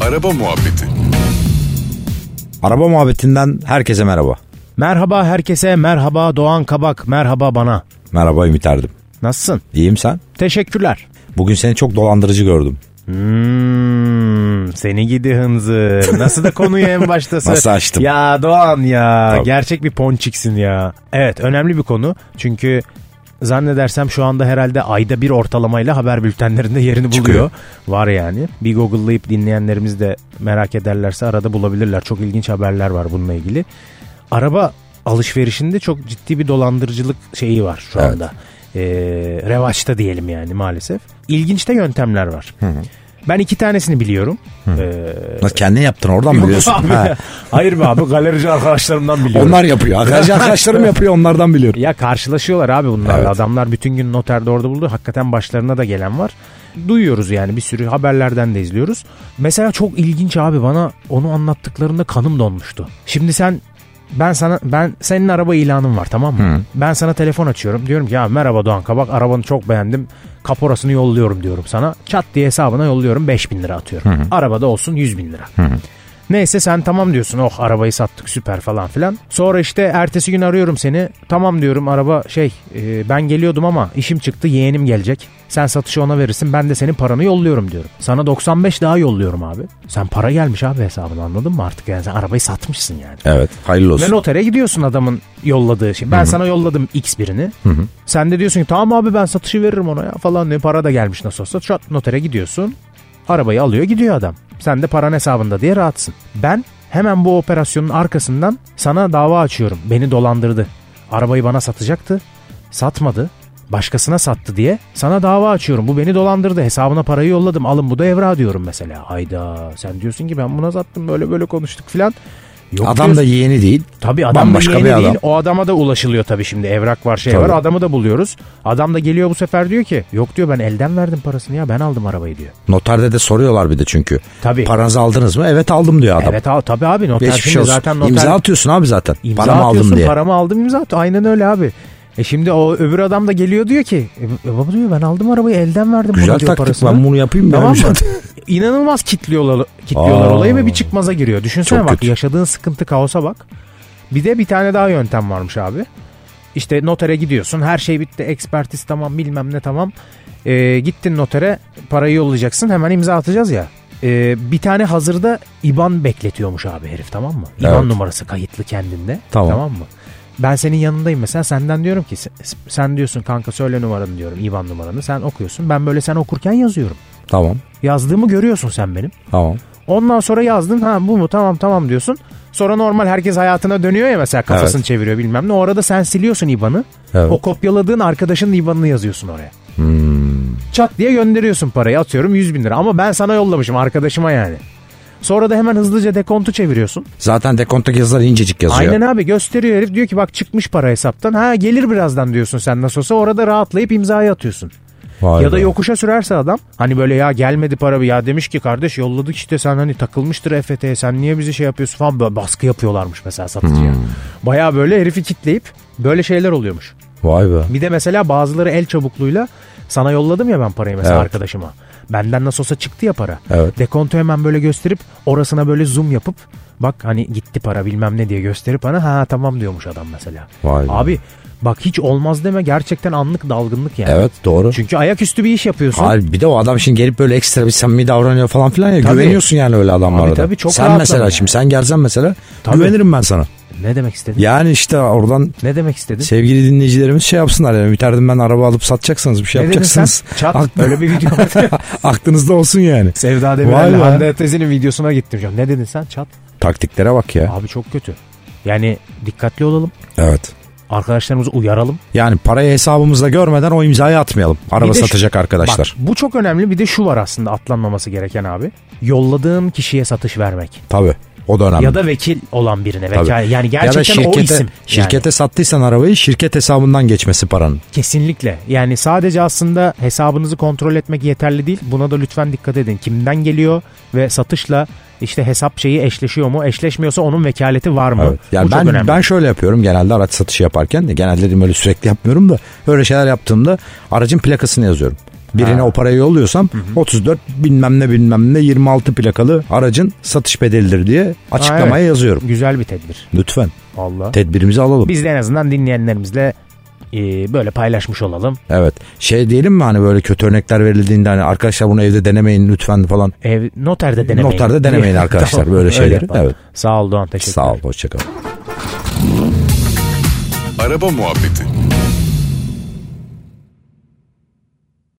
Araba Muhabbeti Araba muhabbetinden herkese merhaba. Merhaba herkese, merhaba Doğan Kabak, merhaba bana. Merhaba Ümit Erdim. Nasılsın? İyiyim sen? Teşekkürler. Bugün seni çok dolandırıcı gördüm. Hmm, seni gidi hınzı. Nasıl da konuyu en baştasın. Nasıl açtım? Ya Doğan ya, Tabii. gerçek bir ponçiksin ya. Evet, önemli bir konu. Çünkü zannedersem şu anda herhalde ayda bir ortalamayla haber bültenlerinde yerini buluyor. Çıkıyor. Var yani. Bir google'layıp dinleyenlerimiz de merak ederlerse arada bulabilirler. Çok ilginç haberler var bununla ilgili. Araba alışverişinde çok ciddi bir dolandırıcılık şeyi var şu Evet. anda. Ee, revaçta diyelim yani maalesef. İlginç de yöntemler var. Ben iki tanesini biliyorum. Ee, Nasıl kendin yaptın oradan mı biliyorsun? Abi, Ha. Hayır be abi galerici arkadaşlarımdan biliyorum. Onlar yapıyor. Arkadaş arkadaşlarım yapıyor onlardan biliyorum. Ya karşılaşıyorlar abi bunlarla. Evet. Adamlar bütün gün noterde orada buldu. Hakikaten başlarına da gelen var. Duyuyoruz yani bir sürü haberlerden de izliyoruz. Mesela çok ilginç abi bana onu anlattıklarında kanım donmuştu. Şimdi sen ben sana ben senin araba ilanın var tamam mı? Ben sana telefon açıyorum. Diyorum ki ya merhaba Doğan Kabak arabanı çok beğendim. Kaporasını yolluyorum diyorum sana. Çat diye hesabına yolluyorum 5000 lira atıyorum. Arabada olsun 100 bin lira. Neyse sen tamam diyorsun oh arabayı sattık süper falan filan. Sonra işte ertesi gün arıyorum seni. Tamam diyorum araba şey e, ben geliyordum ama işim çıktı yeğenim gelecek. Sen satışı ona verirsin ben de senin paranı yolluyorum diyorum. Sana 95 daha yolluyorum abi. Sen para gelmiş abi hesabına anladın mı artık yani sen arabayı satmışsın yani. Evet hayırlı olsun. Ve notere gidiyorsun adamın yolladığı şey. Ben sana yolladım X birini. Sen de diyorsun ki tamam abi ben satışı veririm ona ya falan diye para da gelmiş nasıl olsa. Çat notere gidiyorsun. Arabayı alıyor gidiyor adam. Sen de paran hesabında diye rahatsın. Ben hemen bu operasyonun arkasından sana dava açıyorum. Beni dolandırdı. Arabayı bana satacaktı. Satmadı. Başkasına sattı diye sana dava açıyorum. Bu beni dolandırdı. Hesabına parayı yolladım. Alın bu da evra diyorum mesela. Hayda sen diyorsun ki ben buna sattım böyle böyle konuştuk filan. Yok Adam diyorsun. da yeğeni değil. Tabii adam Bambaşka da yeni bir adam. değil. O adama da ulaşılıyor tabii şimdi. Evrak var şey Tabii. var. Adamı da buluyoruz. Adam da geliyor bu sefer diyor ki yok diyor ben elden verdim parasını ya ben aldım arabayı diyor. Noterde de soruyorlar bir de çünkü. Tabii. Paranızı aldınız mı? Evet aldım diyor adam. Evet abi tabii abi noter Hiçbir şimdi şey olsun. zaten noter İmza atıyorsun abi zaten. İmza Paramı aldım atıyorsun, diye. Paramı aldım imza at. Aynen öyle abi. E şimdi o öbür adam da geliyor diyor ki e, baba diyor ben aldım arabayı elden verdim Güzel buna diyor taktik, parasını. ben bunu yapayım mı? Tamam Yani mı? İnanılmaz kitliyorlar, kitliyorlar Aa. olayı ve bir çıkmaza giriyor. Düşünsene Çok bak kötü. yaşadığın sıkıntı kaosa bak. Bir de bir tane daha yöntem varmış abi. İşte notere gidiyorsun her şey bitti ekspertiz tamam bilmem ne tamam. E, gittin notere parayı yollayacaksın hemen imza atacağız ya. E, bir tane hazırda IBAN bekletiyormuş abi herif tamam mı? IBAN Evet. numarası kayıtlı kendinde. Tamam. mı? Ben senin yanındayım mesela senden diyorum ki se- sen diyorsun kanka söyle numaranı diyorum IBAN numaranı sen okuyorsun. Ben böyle sen okurken yazıyorum. Tamam. Yazdığımı görüyorsun sen benim. Tamam. Ondan sonra yazdın ha bu mu tamam tamam diyorsun. Sonra normal herkes hayatına dönüyor ya mesela kafasını Evet. çeviriyor bilmem ne. O arada sen siliyorsun IBAN'ı. Evet. O kopyaladığın arkadaşın IBAN'ını yazıyorsun oraya. Hmm. Çat diye gönderiyorsun parayı atıyorum 100 bin lira. Ama ben sana yollamışım arkadaşıma yani. Sonra da hemen hızlıca dekontu çeviriyorsun. Zaten dekonttaki yazılar incecik yazıyor. Aynen abi gösteriyor herif diyor ki bak çıkmış para hesaptan. Ha gelir birazdan diyorsun sen nasıl olsa orada rahatlayıp imzayı atıyorsun. Vay Ya da be. yokuşa sürerse adam hani böyle ya gelmedi para ya demiş ki kardeş yolladık işte sen hani takılmıştır EFT'ye sen niye bizi şey yapıyorsun falan böyle baskı yapıyorlarmış mesela satıcıya. Hmm. Baya böyle herifi kitleyip böyle şeyler oluyormuş. Vay be. Bir de mesela bazıları el çabukluğuyla sana yolladım ya ben parayı mesela Evet. arkadaşıma. Benden nasıl olsa çıktı ya para. Evet. Dekontu hemen böyle gösterip orasına böyle zoom yapıp bak hani gitti para bilmem ne diye gösterip bana ha tamam diyormuş adam mesela. Vay be. Abi bak hiç olmaz deme gerçekten anlık dalgınlık yani. Evet doğru. Çünkü ayaküstü bir iş yapıyorsun. Hayır bir de o adam şimdi gelip böyle ekstra bir samimi davranıyor falan filan ya. Tabii. Güveniyorsun yani öyle adamlara Abi da. tabii, çok sen rahatlar mesela yani. şimdi sen gelsen mesela Tabii. güvenirim ben sana. Ne demek istedin? Yani işte oradan Ne demek istedin? sevgili dinleyicilerimiz şey yapsınlar yani biterdim ben araba alıp satacaksanız bir şey ne dedin yapacaksınız. sen? Çat Ak- öyle bir video. aklınızda olsun yani. Sevda Vay Demirel'le be. Hande Atezi'nin videosuna gittim. şu an. Ne dedin sen? Çat. Taktiklere bak ya. Abi çok kötü. Yani dikkatli olalım. Evet. Arkadaşlarımızı uyaralım. Yani parayı hesabımızda görmeden o imzayı atmayalım. Araba Bir de şu- satacak arkadaşlar. Bak, bu çok önemli. Bir de şu var aslında atlanmaması gereken abi. Yolladığın kişiye satış vermek. Tabii. O da önemli. Ya da vekil olan birine. Tabii. Vekal, yani Ya da gerçekten o isim. Şirkete Yani. sattıysan arabayı şirket hesabından geçmesi paranın. Kesinlikle. Yani sadece aslında hesabınızı kontrol etmek yeterli değil. Buna da lütfen dikkat edin. Kimden geliyor ve satışla işte hesap şeyi eşleşiyor mu? Eşleşmiyorsa onun vekaleti var mı? Evet. Yani Bu çok ben önemli. ben şöyle yapıyorum genelde araç satışı yaparken de genelde dedim öyle sürekli yapmıyorum da öyle şeyler yaptığımda aracın plakasını yazıyorum. Birine Ha. o parayı yolluyorsam 34 bilmem ne bilmem ne 26 plakalı aracın satış bedelidir diye açıklamaya evet. yazıyorum. Güzel bir tedbir. Lütfen Valla. tedbirimizi alalım. Biz de en azından dinleyenlerimizle e, böyle paylaşmış olalım. Evet. Şey diyelim mi hani böyle kötü örnekler verildiğinde hani arkadaşlar bunu evde denemeyin lütfen falan. Ev, noterde denemeyin. Noterde denemeyin arkadaşlar böyle öyle şeyleri. yapalım. Evet. Sağ ol Doğan teşekkürler. Sağ ol hoşçakal. Araba Muhabbeti